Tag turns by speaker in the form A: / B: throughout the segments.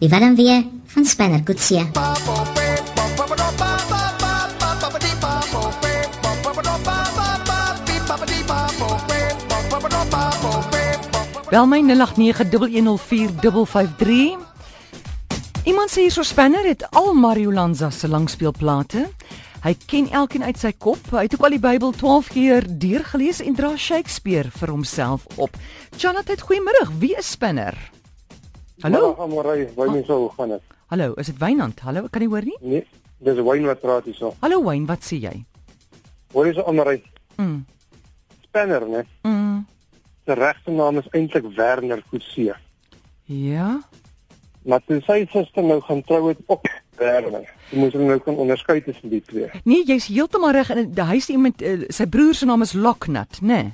A: Iwan weer van Spanner Coetzee.
B: Bel my 0891104553. Iemand sê hierso Spanner het al Mario Lanza se langspeelplate. Hy ken elkeen uit sy kop. Hy het ook al die Bybel 12 keer deurgelees en dra Shakespeare vir homself op. Charlotte, goeiemôre. Wie is Spanner? Hallo. Ah.
C: Amorey, wyn nie so gaan dit.
B: Hallo, is dit Wynand? Hallo, ek kan nie hoor nie.
C: Nee, dis wyn wat praat hierso.
B: Hallo Wyn, wat sê jy?
C: Hoor hierso Amorey,
B: Mm.
C: Spanner, né?
B: Mm.
C: Sy regte naam is eintlik Werner Coetzee.
B: Ja.
C: Maar toe sy suster nou gaan trou het op Werner. Jy moet hulle nou kan onderskei tussen die twee.
B: Nee, jy's heeltemal reg en hy is iemand uh, sy broer se naam is Loknat, né? Nee?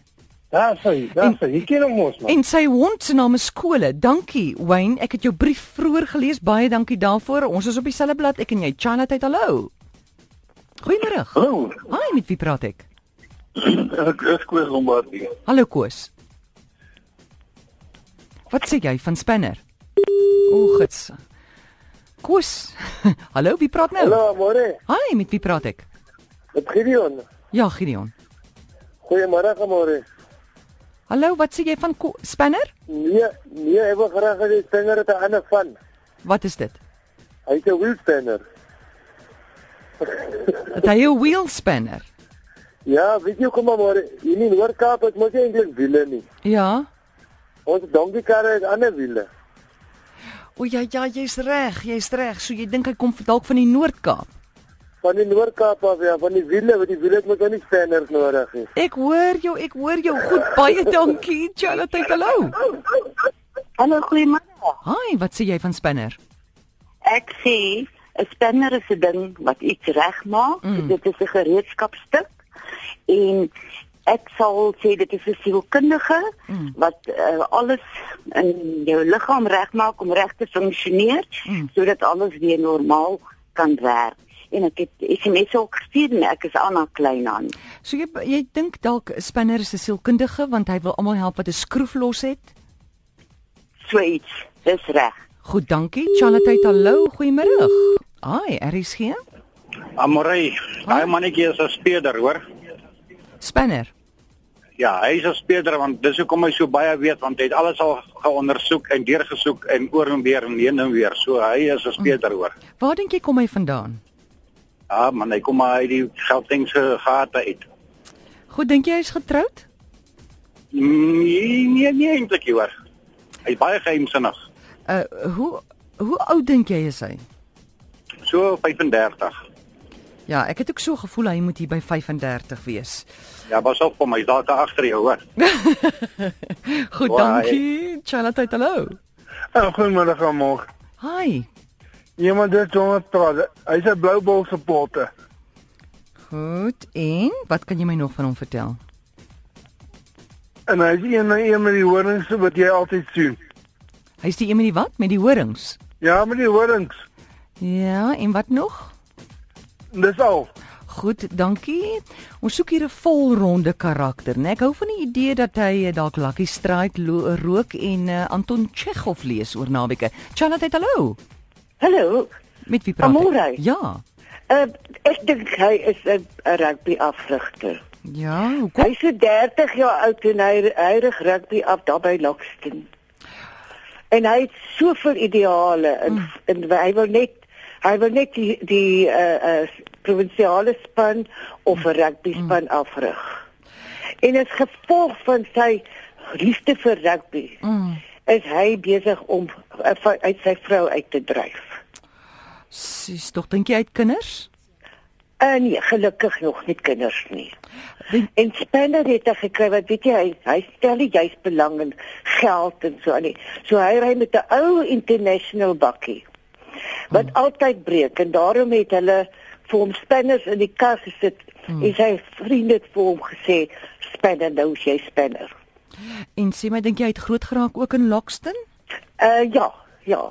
C: Daar sê, daar sê, jy ken hom mos man.
B: En sy hond se naam is Skole. Dankie Wayne, ek het jou brief vroeër gelees. Baie dankie daarvoor. Ons is op dieselfde blad ek en jy. Charlotte, het hallo. Goeiemôre.
D: Hallo,
B: Hi, met wie praat ek?
D: ek is Koos Lombardi.
B: Hallo Koos. Wat sê jy van Spanner? O, gits. Koos. hallo, wie praat nou?
C: Hallo Amorey,
B: Hi, met wie praat ek?
C: dit Gideon.
B: Ja, Gideon.
C: Goeiemôre Amorey.
B: Hallo, wat sê jy van Ko Spanner?
C: Nee, nee, ek wil graag hê Spanner het 'n ander van.
B: Wat is dit?
C: Hy het 'n wielspanner.
B: Het hy 'n wheel spanner?
C: Ja, weet jy kom Amorey, hier in Noord-Kaap het mos nie eintlik wiele nie.
B: Ja.
C: Ons donkiekarre het ander wiele.
B: O ja ja, jy's reg, jy's reg. So jy dink hy kom dalk van die Noord-Kaap.
C: Van die Noord-Kaap af ja, van die wiele, want die wiele het mos nou nie spanners nodig nie.
B: Ek hoor jou, ek hoor jou. Goed, baie dankie. Charlotte, hallo.
E: Hallo, goeiemôre.
B: Hi, wat sê jy van Spinner?
E: Ek sê 'n spinner is 'n ding wat iets regmaak.
B: Mm.
E: Mm. Dit is 'n gereedskapstuk en ek sal sê dit is 'n sielkundige
B: Mm.
E: mm. wat uh, alles in jou liggaam regmaak om reg te funksioneer
B: Mm.
E: mm. sodat alles weer normaal kan werk. En ek het SMS ook gestuur en ek is Anna Kleinhan.
B: So jy jy dink dalk Spinner is 'n sielkundige want hy wil almal help wat 'n skroef los het.
E: So iets. Dis reg.
B: Goed, dankie. Charlotte, hallo. Goeiemôre. Hi, RSG.
D: Amorey, daai mannetjie is 'n speeder, hoor?
B: Spinner.
D: Ja, hy is 'n speeder want dis hoekom hy so baie weet want hy het alles al geondersoek en deurgesoek en oor en weer en heen en weer. So hy is 'n speeder, hoor.
B: Waar dink jy kom hy vandaan?
D: Ja, man, hy kom maar uit die Gautengse gate uit.
B: Goed, dink jy hy's getroud?
D: Nee, nee, nee eintlik nie, hoor. Hy is baie geheimsinnig.
B: Uh hoe hoe oud dink jy is hy?
D: So 35.
B: Ja, ek het ook so gevoel hy moet hier by 35 wees.
D: Ja, pas op hom, hy's daar te agter jou, hoor.
B: Goed,
D: Hi.
B: dankie. Charlotte, hallo.
C: Oh, goeiemôre Amorey.
B: Hi.
C: Iemand dit jonge praat. Hy's 'n bloubol supporter.
B: Goed, en wat kan jy my nog van hom vertel?
C: En hy's een na een met die horings wat jy altyd sien.
B: Hy's die een met die wat? Met die horings.
C: Ja, met die horings.
B: Ja, en wat nog?
C: Dis al.
B: Goed, dankie. Ons soek hier 'n volronde karakter, né? Ek hou van die idee dat hy eh, dalk Lucky Strike lo- rook en uh, Anton Chekhov lees oor naweke. Charlotte, hallo.
E: Hallo.
B: Met wie praat
E: Amore.
B: ek? Ja.
E: Uh, ek dink hy is 'n 'n rugby afrigter.
B: Ja, hoekom?
E: Hy's so 30 jaar oud en hy hy rig rugby af daar by Lockston. En hy het soveel ideale en mm. en hy wil net hy wil net die die eh uh, uh, provinsiale span of 'n rugby span mm. afrig. En as gevolg van sy liefde vir rugby
B: Mm.
E: is hy besig om uh, van- uit sy vrou uit te dryf.
B: Sis, tog dink jy hy het kinders?
E: En nee, gelukkig nog nie kinders nie.
B: Dink-
E: En Spender het hy gekry wat weet jy hy hy stel nie juis belang in geld en so aan nie. So hy ry met 'n ou international bakkie wat hmm. altyd breek en daarom het hulle vir hom spinners in die kar gesit. Hmm. En sy vriende het vir hom gesê spinner nou is jy spinner.
B: En sê my, dink jy hy het groot geraak ook in Lockston?
E: Uh ja, ja.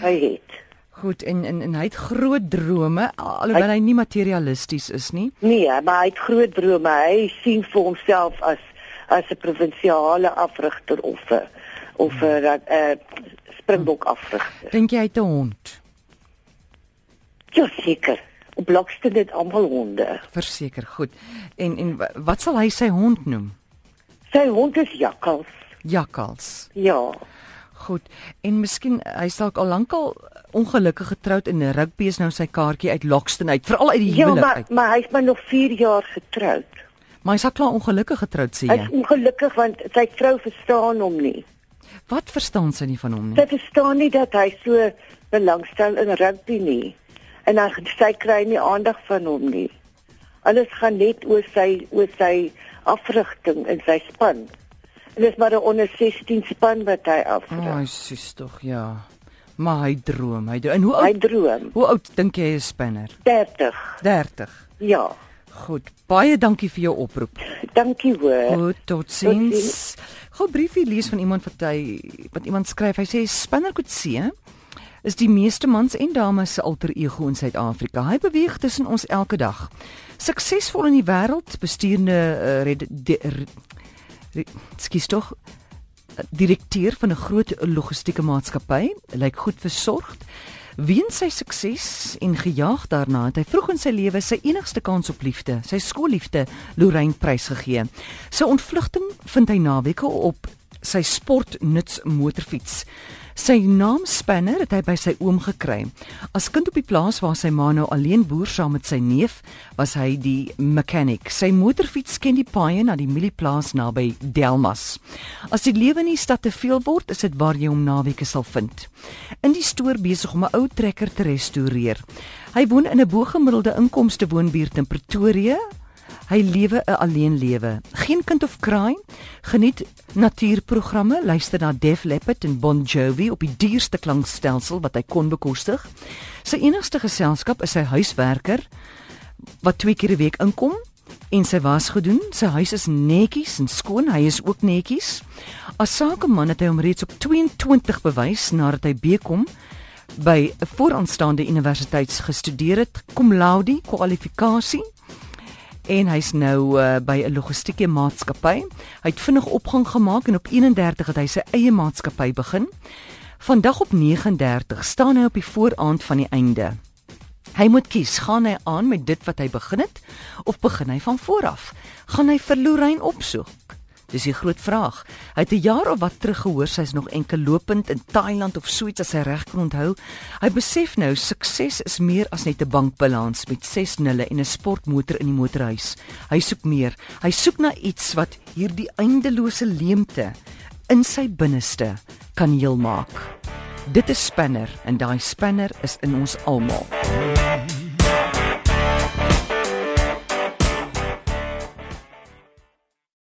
E: Hy het.
B: Goed, en en, en hy het groot drome, al- alhoewel hy, hy nie materialisties is nie.
E: Nee, maar hy het groot drome. Hy sien vir homself as as 'n provinsiale afrigter of 'n of 'n
B: Hmm.
E: uh, uh, springbok afrigter.
B: Dink jy hy het 'n hond?
E: Ja seker. Op Blokston het almal honde.
B: Verseker, goed. En en wa- wat sal hy sy hond noem?
E: Sy hond is jakkals.
B: Jakkals.
E: Ja.
B: Goed. En miskien hy is dalk al lankal ongelukkig getroud en rugby is nou sy kaartjie uit Lockston uit, veral uit die
E: Ja,
B: huwelik
E: maar
B: uit.
E: maar hy's maar nog 4 jaar getroud.
B: Maar hy's al klaar ongelukkig getroud sê
E: Hy's ja.
B: jy.
E: ongelukkig want sy vrou verstaan hom nie.
B: Wat verstaan sy nie van hom nie?
E: Sy verstaan nie dat hy so belangstel in rugby nie. En dan sy kry nie aandag van hom nie. Alles gaan net oor sy oor sy afrigting in sy span. En dis maar 'n onder 16 span wat hy afrig.
B: Ai,
E: Oh,
B: oh, sis tog, ja. Maar hy droom, hy droom. En hoe
E: hy
B: oud
E: droom.
B: hoe oud dink jy hy is Spanner?
E: 30.
B: 30.
E: Ja.
B: Goed. Baie dankie vir jou oproep.
E: Dankie hoor.
B: Goed, totsiens. Gou briefie lees van iemand wat hy wat iemand skryf. Hy sê Spinnerkoetse is die meeste mans en dames se alter ego in Suid-Afrika. Hy beweeg tussen ons elke dag. Suksesvol in die wêreld, besturende uh, red, de, re, re, skus tog eh, direkteur van 'n groot logistieke maatskappy, lyk goed versorgd. Weens sy sukses en gejaag daarna het hy vroeg in sy lewe sy enigste kans op liefde, sy skoolliefde, Lorraine prysgegee. Sy ontvlugting vind hy naweke op sy sportnuts motorfiets. Sy naam Spanner het hy by sy oom gekry. As kind op die plaas waar sy ma nou alleen boer saam met sy neef, was hy die mechanic. Sy motorfiets ken die paaie na die mielieplaas naby Delmas. As die lewe in die stad te veel word, is dit waar jy hom naweke sal vind. In die stoor besig om 'n ou trekker te restoreer. Hy woon in 'n bo-gemiddelde inkomste woonbuurt in Pretoria. Hy lewe 'n alleen lewe. Geen kind of kraai, geniet natuurprogramme, luister na Def Leppard en Bon Jovi op die duurste klankstelsel wat hy kon bekostig. Sy enigste geselskap is sy huiswerker wat twee keer 'n week inkom en sy was gedoen. Sy huis is netjies en skoon. Hy is ook netjies. As sakeman het hy hom reeds op 22 bewys nadat hy bekom by 'n vooraanstaande universiteit gestudeer het, cum laude kwalifikasie en hy's nou uh, by 'n logistieke maatskappy. Hy het vinnig opgang gemaak en op 31 het hy sy eie maatskappy begin. Vandag op 39 staan hy op die vooraand van die einde. Hy moet kies, gaan hy aan met dit wat hy begin het of begin hy van voor af? Gaan hy vir Lorraine opsoek? Dis die groot vraag. Hy het 'n jaar of wat terug gehoor sy's nog enkel lopend in Thailand of so iets as hy reg kon onthou. Hy besef nou sukses is meer as net 'n bankbalans met 6 nulle en 'n sportmotor in die motorhuis. Hy soek meer. Hy soek na iets wat hierdie eindelose leemte in sy binneste kan heel maak. Dit is spanner en daai spanner is in ons almal.